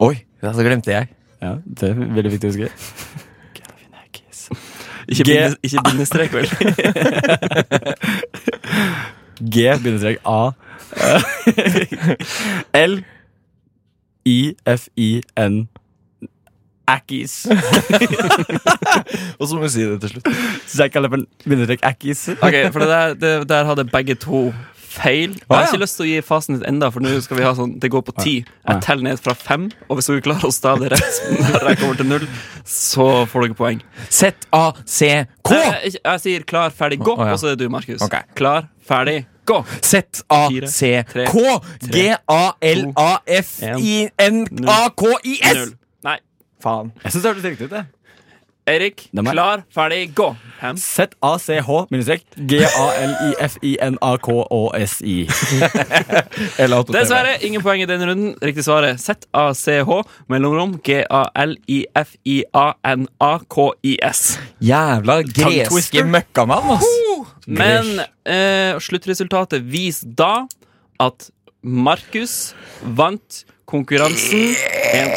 S3: Oi, det så glemte jeg.
S5: Ja, det er veldig viktig å huske.
S1: Ikke
S5: G-
S1: binde- ikke bindestrek, vel?
S5: G bindestrek A L I F I N Ackies.
S3: Og så må vi si det til slutt.
S5: Zakalepen bindestrek Ackies.
S1: Ok, for det der, det, der hadde begge to feil. Jeg
S5: Ah,
S1: har
S5: ja.
S1: ikke lyst til å gi fasen ditt enda, for nå skal vi ha sånn Det går på ti. Jeg teller ned fra fem, og hvis dere klarer å stave det rett når jeg kommer til null, så får dere poeng.
S3: Z-A-C-K!
S1: Nei, Jeg, jeg, jeg sier klar, ferdig, gå,
S3: Å, ja.
S1: og så er det du, Markus.
S3: Ok.
S1: Klar, ferdig, gå. Fire,
S3: Z-A-C-K! G-A-L-A-F-I-N-A-K-I-S!
S1: Null. Nei.
S5: Faen. Jeg syns det hørtes riktig ut, det.
S1: Erik,
S5: er meg.
S1: klar, ferdig, gå. Hem.
S5: Z-A-C-H bindestrek G-A-L-I-F-I-N-A-K-Å-S-I.
S1: Dessverre, ingen poeng i denne runden. Riktig svar er ZACH, mellomrom G-A-L-I-F-I-A-N-A-K-I-S.
S3: Jævla
S5: Tongue-twister.
S3: greske møkkamann, ass!
S1: Men eh, sluttresultatet viser da at Markus vant konkurransen 1,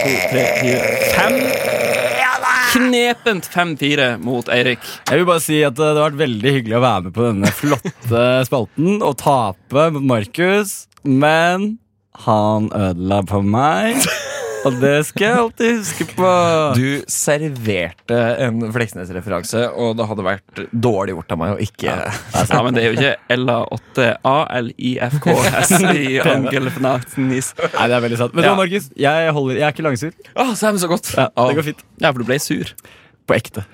S1: 2, 3, 4, 5. Knepent 5-4 mot Eirik.
S5: Jeg vil bare si at Det har vært veldig hyggelig å være med på denne flotte spalten og tape mot Markus, men han ødela på meg. Og det skal jeg alltid huske på.
S3: Du serverte en Fleksnes-referanse, og det hadde vært dårlig gjort av meg å ikke
S1: Ja, men det er jo ikke LA8ALIFKS i Angelfnatsnis.
S5: Nei, det er veldig sant. Men
S1: Ja.
S5: ja. Markus, jeg, holder, jeg er ikke langsur.
S3: Å, Sam, så godt!
S5: Ja, det går fint.
S1: Ja, for du ble sur.
S5: På ekte.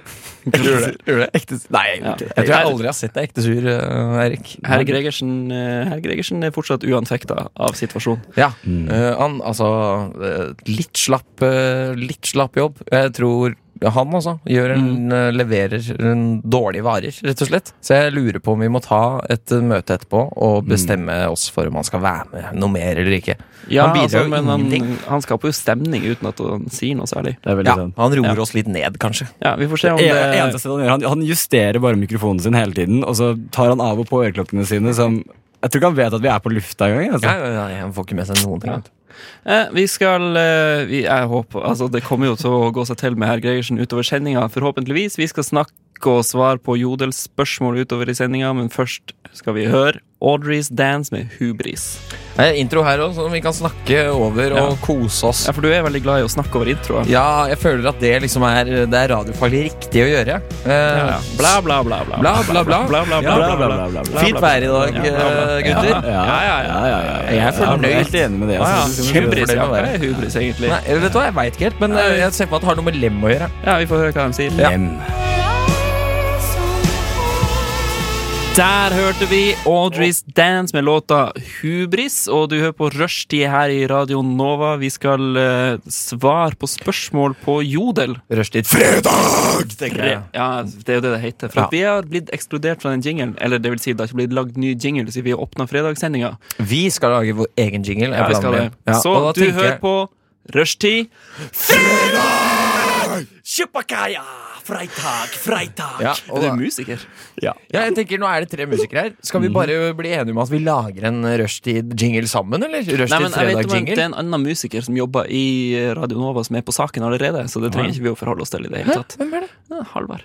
S3: Gjør det. Gjør det.
S5: ekte nei, jeg
S1: Ja.
S5: gjør ikke det.
S3: Jeg tror jeg aldri har sett deg ekte sur, eh, Eirik.
S1: Herr Gregersen, eh, herr Gregersen er fortsatt uanfekta av situasjonen.
S3: Ja. eh, han, altså eh, Litt slapp, eh, litt slapp jobb. Jeg tror han, altså, gjør en, eh, leverer en dårlige varer, rett og slett. Så jeg lurer på om vi må ta et eh, møte etterpå og bestemme oss for om han skal være med noe mer eller ikke.
S1: Ja,
S3: han bidrar
S1: altså,
S3: jo
S1: men han,
S3: ingenting.
S1: han skaper jo stemning uten at han sier noe særlig.
S5: Det er veldig
S3: Ja,
S5: sant.
S3: han roer
S1: Ja.
S3: oss litt ned, kanskje.
S1: Ja, vi får se om
S5: Det
S1: det
S5: E- eneste stedet han gjør, han, han justerer bare mikrofonen sin hele tiden, og så tar han av og på øreklokkene sine, som Jeg tror ikke han vet at vi er på lufta engang. Altså.
S3: Ja, ja, ja, han får ikke med seg noen ting. vet du.
S1: Eh, Vi skal eh, vi, Jeg håper Altså, det kommer jo til å gå seg til med herr Gregersen utover sendinga, forhåpentligvis. Vi skal snakke og svare på Jodels spørsmål utover i sendinga, men først skal vi høre Audrey's Dance med Hubris.
S3: Det er intro her òg, som vi kan snakke over og kose oss.
S1: Ja, for du er veldig glad i å snakke over introer.
S3: Ja, jeg føler at det liksom er Det er radiofaglig riktig å gjøre. Eh,
S1: Ja, ja. Bla, bla, bla, bla.
S3: Bla, bla, bla.
S1: bla, bla,
S5: Ja,
S1: bla, bla, bla.
S3: Fint vær i
S1: Ja,
S3: dag,
S1: bla, bla.
S3: eh, gutter.
S1: Ja, ja, ja.
S5: ja, ja, ja.
S3: Jeg er fornøyd.
S5: men helt enig med det.
S1: Ja,
S5: Altså.
S1: ja.
S5: Synes jeg vi skal
S1: Hubris,
S5: gjøre det.
S1: ja. Hva er hubris, egentlig?
S3: Nei, vet du hva, jeg veit ikke helt, men eh, jeg ser på at det har noe med lem å gjøre.
S1: Ja, Vi får høre hva de sier.
S5: Lem.
S1: Der hørte vi Audrey's Dance med låta Hubris, og du hører på Rushtid her i Radio Nova. Vi skal eh, svare på spørsmål på Jodel.
S3: Rushtid fredag! tenker jeg.
S1: Ja, det er jo det det heter. For at vi har blitt ekskludert fra den jinglen. Eller det vil si, det har ikke blitt lagd ny jingle siden vi åpna fredagssendinga.
S3: Vi skal lage vår egen jingle. jeg
S1: Ja, vi
S3: blander
S1: skal det.
S3: meg. Ja,
S1: Så
S3: og da
S1: du
S3: tenker
S1: hører
S3: jeg-
S1: på Rushtid
S5: Chupacaya! Freitag, freitag.
S3: Ja, og
S1: Er
S3: da-
S1: du musiker?
S3: ja, jeg tenker Nå er det tre musikere her. Skal vi
S1: Mhm.
S3: bare bli enige om at vi lager en rushtid-jingle sammen?
S1: Nei,
S3: eller?
S1: men jeg vet om en, Det
S3: Rushtid-fredag-jingle?
S1: er en annen musiker som jobber i eh, Radio Nova, som er på saken allerede. Så det trenger ikke vi å forholde oss til i det hele tatt.
S3: Hvem er det?
S1: Ja, Halvard.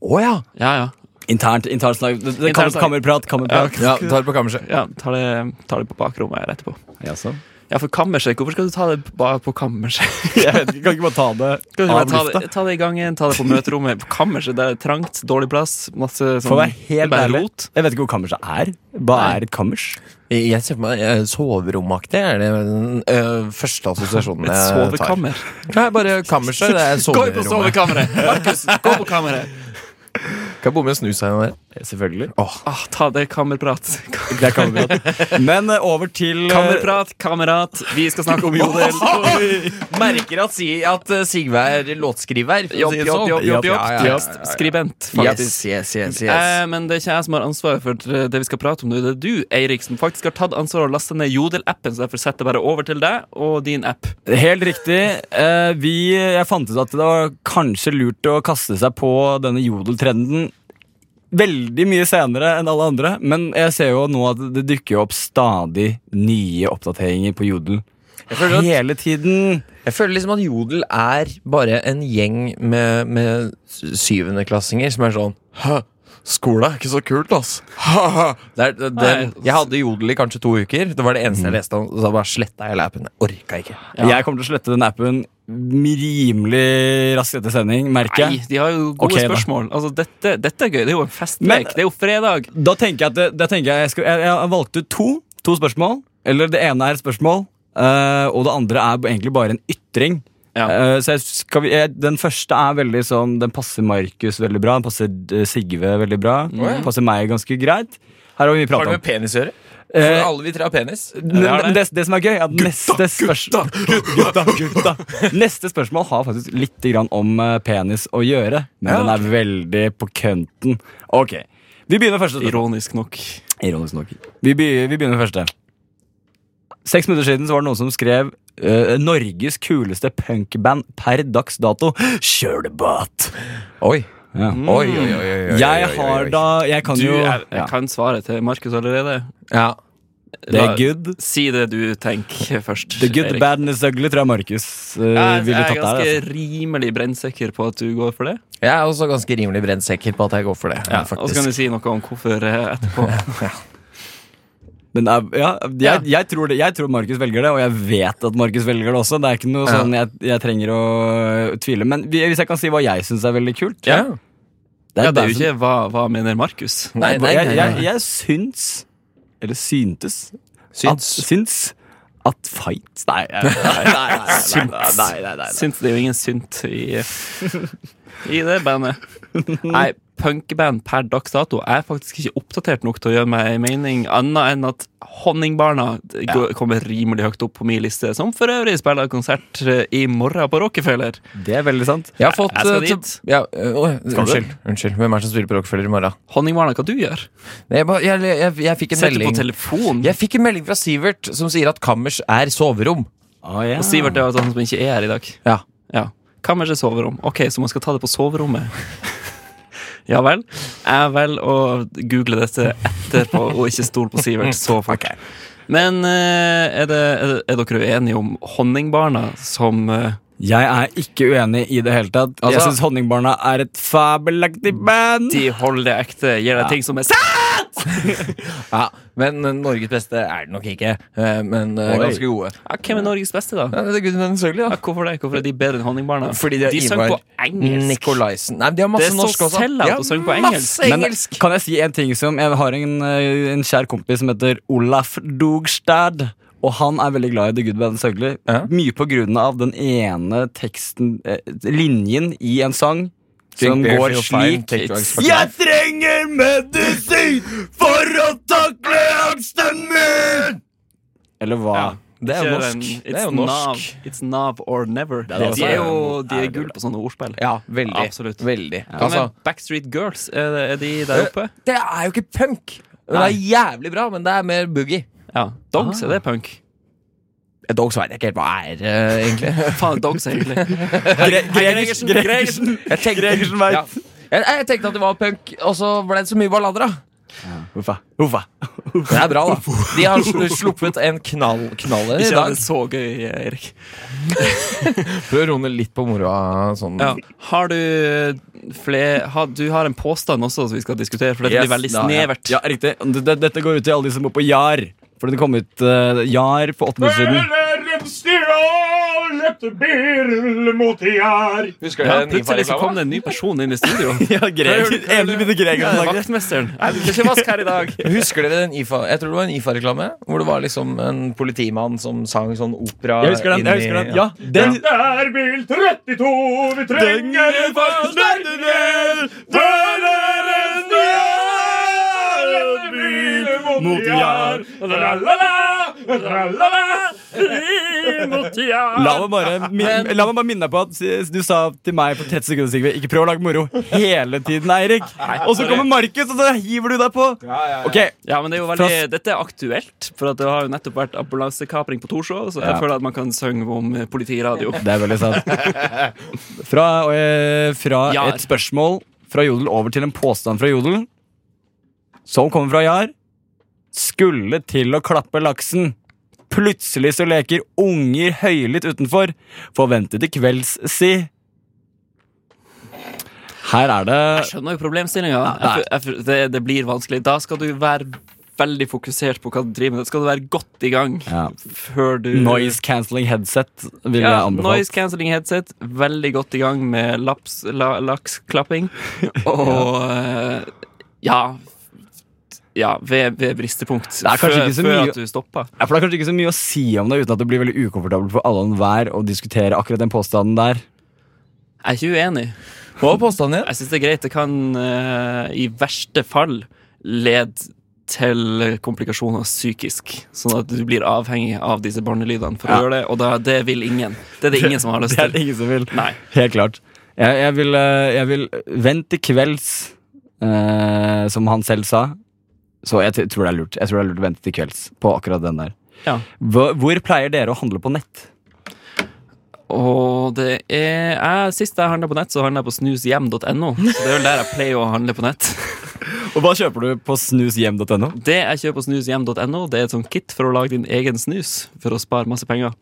S3: Å ja.
S1: Ja, ja.
S5: Internt, internt slag. Det, det, kam,
S1: Internt slag.
S5: kammerprat, kammerprat.
S3: ja tar det på kammerset.
S1: ja ta, det, ta det på bakrommet her etterpå.
S5: Ja, så.
S1: Ja, for kammerset. Hvorfor skal du ta det ba- på kammerset?
S5: Jeg vet ikke, kan ikke bare ta det
S1: Skal du bare
S5: av
S1: ta
S5: lufta?
S1: det, ta det i gangen, ta det på møterommet. På kammerset der er det trangt, dårlig plass, masse sånn
S5: For å være helt
S1: bare
S5: ærlig,
S1: rot.
S5: jeg vet ikke hvor kammerset er. Hva er et kammers?
S3: Jeg ser for meg eh, soveromaktig. Er det den eh, første
S1: Et
S3: assosiasjonen jeg tar?
S1: sovekammer.
S3: Nei, bare kammerset. Det er
S1: Gå på
S3: soverommet.
S1: sovekammeret! Markus, gå på kammeret!
S3: Kan bomme snus her. der.
S5: Selvfølgelig.
S1: Ah, ta det kammerprat.
S5: Det er kammerprat. Men eh, over til eh,
S1: Kammerprat, kamerat. Vi skal snakke om jodel.
S3: Merker at, si, at eh, Sigve er låtskriver.
S1: Jobb, jobb, jobb, jobb, jobb.
S3: sånn. Ja, ja, ja, ja.
S1: Skribent, faktisk.
S3: Yes, yes, yes,
S1: Eh,
S3: yes.
S1: men det er ikke jeg som har ansvaret for det vi skal prate om nå. Det er du, Eirik, som faktisk har tatt ansvar og lasta ned Jodel-appen, så derfor setter jeg bare over til deg og din app.
S5: Helt riktig. Eh, vi, jeg fant ut at det var kanskje lurt å kaste seg på denne jodeltrenden veldig mye senere enn alle andre, men jeg ser jo nå at det dukker jo opp stadig nye oppdateringer på jodel.
S3: føler at-
S5: Hele tiden.
S3: Jeg føler liksom at Jodel er bare en gjeng med, med syvendeklassinger som er sånn Hæ, skole er ikke så kult, ass. Ha, ha. Det er, det,
S1: Nei.
S3: jeg hadde Jodel i kanskje to uker. Det var det eneste jeg leste om. Så da bare sletta jeg lappen. Jeg orka ikke.
S5: Jeg kommer til å slette den appen rimelig raskt etter sending, merker jeg.
S1: Nei, de har jo gode
S5: Ok, da.
S1: spørsmål. Altså, dette, dette er gøy. Det er jo en festlek.
S5: Men-
S1: det er jo fredag.
S5: Da tenker jeg at det- da tenker jeg, jeg, skal, jeg, jeg har valgt ut to, to spørsmål. Eller det ene er et spørsmål, eh, og det andre er egentlig bare en ytring.
S1: Ja.
S5: Eh, så jeg, skal vi, jeg, den første er veldig sånn Den passer Markus veldig bra. Den passer eh, Sigve veldig bra. Den passer meg ganske greit. Her har vi mye prat om.
S3: penis å gjøre?
S5: Eh,
S3: alle vi tre har penis.
S5: men
S1: Ja, det er
S5: det, det som er gøy, er at neste spørsmål gutta, gutta, gutta. Neste spørsmål har faktisk litt grann om eh, penis å gjøre, men den er veldig på kønten. Ok, Vi begynner med første spørsmål.
S1: Ironisk nok.
S5: Ironisk nok. Vi, be- vi begynner med første. Seks minutter siden så var det noen som skrev eh, Norges kuleste punkband per dags dato. Kjølebåt!
S3: Oi.
S5: Ja.
S3: Oi, oi, oi, oi, oi,
S5: Jeg
S3: oi, oi,
S5: har
S3: oi.
S5: da Jeg kan
S1: Du
S5: jo
S1: jeg, jeg
S5: ja.
S1: kan svaret til Markus allerede.
S3: ja.
S5: Det er
S1: La-
S5: good.
S1: Si det du tenker først.
S5: The good,
S1: Eirik.
S5: bad and is ugly, tror jeg Markus eh,
S1: Jeg, jeg
S5: ville
S1: er
S5: tatt der.
S1: ganske
S5: Altså.
S1: rimelig brennsikker på at du går for det.
S3: Jeg er også ganske rimelig brennsikker på at jeg går for det.
S1: Ja, og så kan
S3: faktisk.
S1: du si noe om hvorfor eh, etterpå.
S5: Men eh, ja, jeg, jeg tror, det- jeg tror Markus velger det, og jeg vet at Markus velger det også. Det er ikke noe
S3: Ja.
S5: sånn jeg, jeg trenger å øh, tvile. Men vi- hvis jeg kan si hva jeg syns er veldig kult
S3: Ja.
S5: Det
S1: Ja, det er jo
S5: som-
S1: ikke hva, hva mener Markus?
S3: Nei, nei,
S5: jeg,
S3: nei,
S5: jeg,
S3: nei.
S5: jeg syns Eller syntes
S3: Syns.
S5: At, syns at fight Nei, nei, nei, nei, nei, nei, nei, nei, nei.
S1: Synt, det er jo ingen synt i, i det bandet. Nei, punkband per dags dato er faktisk ikke oppdatert nok til å gjøre meg en mening, annet enn at Honningbarna det går- kommer rimelig høyt opp på min liste, som for øvrig spiller konsert eh, i morgen på Rockefeller.
S5: Det er veldig sant
S3: Jeg har fått
S1: Jeg skal
S3: eh,
S1: dit.
S3: til- Ja, øh, oi, unnskyld. unnskyld. Hvem er det som spiller på Rockefeller i morgen?
S1: Honningbarna, hva du gjør?
S3: Nei, Jeg, bare- jeg, jeg, jeg fikk en
S1: Sitter på
S3: melding
S1: telefon?
S3: Jeg fikk en melding fra Sivert som sier at kammers er soverom.
S5: ah, ja.
S1: Og Sivert er jo sånn som ikke er her i dag.
S3: Ja.
S1: Ja. Kammers er soverom. Ok, så man skal ta det på soverommet. Ja vel. Jeg velger å google dette etterpå og ikke stole på Sivert så fort. Men eh, er, det, er, det, er dere uenige om Honningbarna som eh,
S5: Jeg er ikke uenig i det hele tatt Jeg
S3: Altså-
S5: synes Honningbarna er et fabelaktig band
S1: De holder det ekte, gir deg ting som er sånn, sant?
S3: Ja, men eh, Norges beste er det nok ikke. eh, Men eh,
S5: Oi.
S3: ganske gode.
S1: Ja, "Ah, hvem er Norges beste, da?
S3: Ja, det er Gud, men selvfølgelig,
S1: Ja,
S3: da.
S1: hvorfor det? Hvorfor er de bedre enn Honningbarna?
S3: Fordi de har
S1: sang
S3: Ivar
S1: på engelsk.
S3: Nikolaisen. Nei, de har masse
S1: Det er så
S3: norsk også.
S1: sellout
S3: De har
S1: å synge på engelsk.
S3: Masse
S5: Men
S3: engelsk.
S5: kan jeg si en ting som Jeg har en, eh, en kjær kompis som heter Olaf Dogstad Og han er veldig glad i The Good Band Søgler
S3: Ja.
S5: Mye på grunn av den ene teksten eh, Linjen i en sang Som går slik
S3: Jeg
S5: trenger medisin for å takle angsten min! Eller hva?
S3: Det er jo
S1: Kjør en
S3: norsk. Det
S1: It's
S3: er jo norsk.
S1: Nav, it's nav or never.
S5: er
S1: de
S5: også-
S1: er jo de er gull på sånne ordspill.
S3: Ja, veldig.
S1: Absolutt.
S3: Veldig.
S1: Hva med
S3: Altså, Eh,
S1: Backstreet Girls? Er, det, er de der oppe?
S3: det er jo ikke punk. Det er jævlig bra, men det er mer boogie.
S1: Ah. Ja. Dogs, er det punk?
S3: Dogs veit jeg ikke helt hva er, eh, egentlig.
S1: Faen, dogs, egentlig.
S5: Gregersen, Gregersen,
S3: Jeg tenkte,
S5: Gregersen veit.
S3: Ja. Jeg, jeg tenkte at det var punk, og så ble det så mye ballader, da.
S5: Huffa, huffa.
S3: Det er bra, da. De har sl- sluppet en knall, knaller i
S1: Ikke hadde
S3: dag.
S1: det så gøy, Erik.
S3: Prøv å roe litt på moroa sånn.
S1: Ja. Har du flere ha, Du har en påstand også som vi skal diskutere, for dette
S3: Yes,
S1: blir veldig
S3: da, ja.
S1: snevert.
S5: Ja, riktig. D- d- Dette går ut til alle de som bor på Jar. For den kom ut eh, Jar for åtte minutter siden.
S3: Husker
S1: Ja,
S3: dere den
S1: plutselig så kom
S3: Nifa-reklama?
S1: det en ny person inn i studio.
S5: Ja, Greger, Endelig begynte Greger å
S1: Ja,
S5: snakke.
S1: Vaktmesteren. Jeg blir ikke vask her i dag.
S3: Husker dere den IFA? Jeg tror det var en IFA-reklame. Hvor det var liksom en politimann som sang sånn opera.
S5: Jeg husker den. jeg
S3: inni-
S5: husker den Ja, den
S2: Der bil 32, vi trenger en forsterker! Der er en bil mot jar! Tra-la-la, tra-la-la, vi mot jar!
S5: La meg, bare, min, la meg bare minne deg på at s- du sa til meg for 30 sekunder Sigve Ikke prøv å lage moro hele tiden, Eirik. Og så kommer Markus, og så hiver du deg på. Ok,
S1: Ja, men det er jo veldig, Dette er aktuelt, for at det har jo nettopp vært ambulansekapring på Torshov. Så jeg
S5: Ja.
S1: føler at man kan synge om eh, politiradio.
S5: Det er veldig sant. Fra, eh, fra
S1: Jar.
S5: et spørsmål fra Jodel over til en påstand fra Jodel, som kommer fra Jar. Skulle til å klappe laksen. Plutselig så leker unger høylytt utenfor. Forventet til kvelds, si. Her er det
S1: Skjønner jo problemstillinga. Jeg f- jeg f- Det, det blir vanskelig. Da skal du være veldig fokusert på hva du driver med. Da skal du være godt i gang
S5: ja.
S1: før du
S5: Noise cancelling headset vil jeg
S1: Ja,
S5: anbefale.
S1: noise cancelling headset. Veldig godt i gang med laps, la, laksklapping. Og eh, ja Ja, ved, ved bristepunkt.
S5: er kanskje
S1: før,
S5: ikke så
S1: før
S5: mye-
S1: at du stopper.
S5: Ja, for Det er kanskje ikke så mye å si om det uten at det blir veldig ukomfortabelt for alle og enhver å diskutere akkurat den påstanden der.
S1: Jeg er ikke uenig.
S3: Hva var påstanden igjen?
S1: Jeg syns det er greit. Det kan eh, i verste fall lede til komplikasjoner psykisk, sånn at du blir avhengig av disse barnelydene for å gjøre det, og da, det vil ingen. Det er det ingen som har lyst
S5: Det er
S1: til.
S5: det ingen som vil.
S1: Nei.
S5: Helt klart. Jeg, jeg, vil, eh, jeg vil vente til kvelds, eh, som han selv sa. Så jeg t- tror det er lurt Jeg tror det er lurt å vente til kvelds på akkurat den der.
S1: Ja.
S5: Hvor, hvor pleier dere å handle på nett?
S1: Og det er jeg, Sist jeg handla på nett, så handla jeg på snushjem.no. Så det er vel der jeg pleier å handle på nett.
S5: Og hva kjøper du på snushjem.no?
S1: Det jeg kjøper på snushjem.no, det er et sånt kit for å lage din egen snus for å spare masse penger.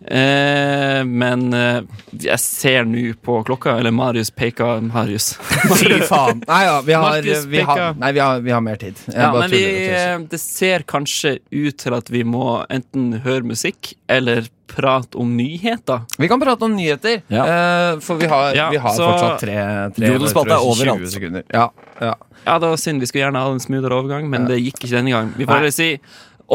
S1: Eh, men eh, jeg ser nå på klokka, eller Marius peker Marius.
S3: Fy faen. Nei ja, vi har,
S1: Markus
S3: vi har,
S1: Pekka.
S3: nei, vi har, vi har mer tid. Jeg
S1: Ja,
S3: bare
S1: men vi, eh,
S3: tuller og tøyser.
S1: det ser kanskje ut til at vi må enten høre musikk eller prate om nyheter.
S3: vi kan prate om nyheter, eh, for vi har,
S1: Ja,
S3: vi har
S1: så-
S3: fortsatt tre, tre
S5: Jodelspalte er
S3: jeg tror,
S5: overalt.
S3: 20 sekunder. Ja, ja.
S1: Ja, det var synd. Vi skulle gjerne hatt en smoothere overgang, men det gikk ikke denne gang. Vi får heller si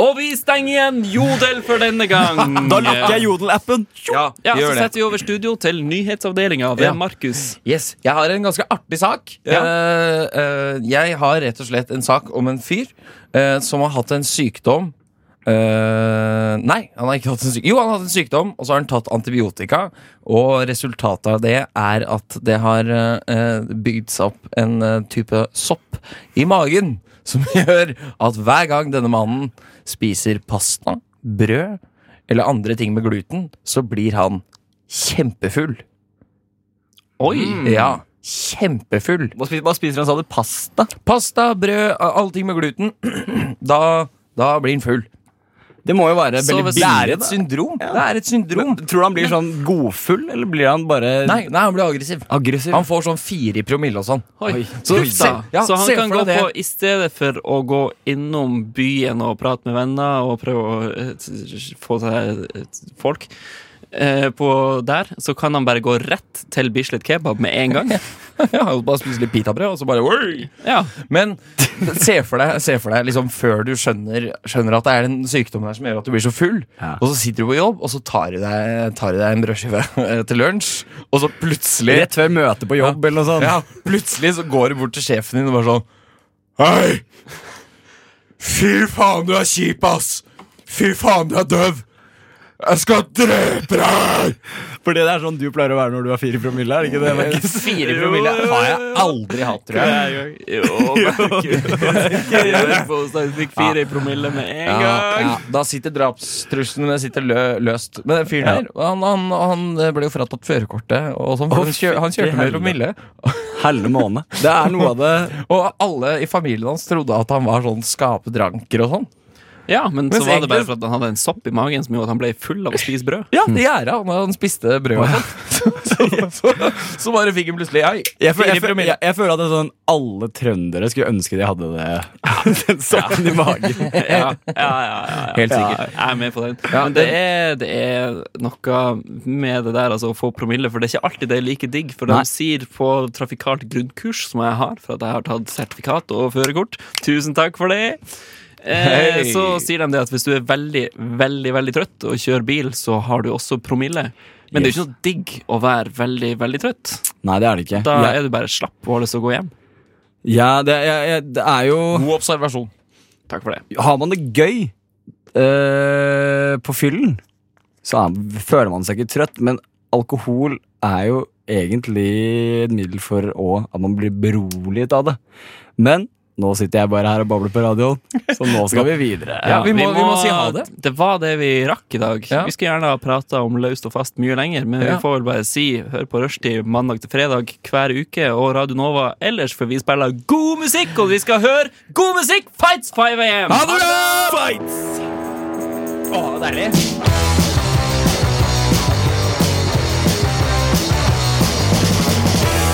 S1: Og vi stenger igjen Jodel for denne gang!
S3: Mm,
S5: Da lukker jeg Jodel-appen!
S3: ja,
S1: Ja, så
S3: gjør det.
S1: setter vi over studio til nyhetsavdelinga ved
S3: Ja.
S1: Markus.
S3: Yes, Jeg har en ganske artig sak.
S1: Ja.
S3: Eh, eh, jeg har rett og slett en sak om en fyr eh, som har hatt en sykdom Eh, Nei, han har ikke hatt en sykdom. Jo, han har hatt en sykdom, og så har han tatt antibiotika. Og resultatet av det er at det har eh, eh, bygd seg opp en eh, type sopp i magen som gjør at hver gang denne mannen spiser pasta, brød eller andre ting med gluten, så blir han kjempefull.
S1: Oi!
S5: Mm.
S3: Ja, kjempefull.
S5: Hva spiser, hva spiser han, sa du? Pasta?
S3: Pasta, brød, allting med gluten. Da, da blir den full.
S5: Det må jo være
S3: Så
S5: veldig
S3: hvis- det er
S5: billig.
S3: et
S5: da.
S3: syndrom. Det er et syndrom.
S5: Tror du han blir sånn godfull, eller blir han bare
S3: Nei, nei, han blir aggressiv.
S5: aggressiv?
S3: Han får sånn fire i promille og sånn.
S1: Oi.
S3: Så,
S1: Uff da.
S3: ja,
S1: så han
S3: se
S1: kan
S3: for
S1: gå
S3: deg det.
S1: på I stedet for å gå innom byen og prate med venner og prøve å eh, t- få seg eh, t- folk eh, på der, så kan han bare gå rett til Bislett Kebab med en gang.
S3: Ja, og bare spise litt pitabrød, og så bare Oi!
S1: Ja,
S3: Men se for deg, se for deg liksom før du skjønner, skjønner at det er den sykdommen her som gjør at du blir så full,
S5: Ja.
S3: og så sitter du på jobb, og så tar du deg, tar du deg en brødskive eh, til lunsj, og så plutselig
S5: Rett før møtet på jobb, eller noe sånt?
S3: Ja, plutselig så går du bort til sjefen din og bare sånn Hei! Fy faen, du er kjip, ass! Fy faen, du er døv! Jeg skal drepe deg!
S5: Fordi det er sånn du pleier å være når du har fire promille, er det ikke det? Markus?
S3: Fire promille har jeg aldri hatt, tror jeg.
S1: Jo, Markus. Fikk fire i promille med en
S3: Ja,
S1: gang.
S3: ja. Da sitter drapstruslene den sitter lø løst. Men den fyren her, han, han, han ble jo fratatt førerkortet. og sånn, for Han, kjø han kjørte med promille.
S5: Helle måne. Det er noe av det
S3: Og alle i familien hans trodde at han var sånn skapedranker og sånn.
S1: Ja, men så
S3: Mens
S1: var det bare
S3: egentlig-
S1: for at han hadde en sopp i magen som gjorde at han ble full av å spise brød.
S3: Ja, det gjerdet han, han spiste brød og sånn. Så, så, så, så bare fikk han plutselig ei.
S5: jeg, føl, jeg,
S3: Fire
S5: føl,
S3: promille.
S5: jeg, jeg føler at det er sånn alle trøndere skulle ønske de hadde det. Sånn Den soppen i magen.
S1: Ja, ja, ja, ja, ja.
S3: Helt sikkert.
S1: Ja, jeg er med på den. Men det er, det er noe med det der altså, å få promille, for det er ikke alltid det er like digg. For
S5: Nei.
S1: de sier på trafikalt grunnkurs, som jeg har, for at jeg har tatt sertifikat og førerkort Tusen takk for det! Eh,
S3: Hei.
S1: så sier de det at hvis du er veldig, veldig veldig trøtt og kjører bil, så har du også promille. Men det er jo ikke noe digg å være veldig, veldig trøtt.
S5: Nei, det er det ikke.
S1: Da
S5: Jeg-
S1: er du bare slapp og har lyst til å gå hjem.
S5: ja, det, jeg, jeg, det er jo
S3: God observasjon.
S1: Takk for det.
S5: Har man det gøy eh, på fyllen, så er, føler man seg ikke trøtt, men alkohol er jo egentlig et middel for å, at man blir beroliget av det. Men nå sitter jeg bare her og babler på radioen, så nå skal vi videre.
S3: Ja, vi må- vi må si ha det.
S1: Det var det vi rakk i dag.
S3: Ja.
S1: Vi skulle gjerne ha prata om løst og fast mye lenger, men
S3: Ja.
S1: vi får vel bare si hør på Rushtid mandag til fredag hver uke og Radio Nova ellers, for vi spiller god musikk, og vi skal høre god musikk! Fights 5 AM!
S3: Ha det bra! Fights! Å, deilig.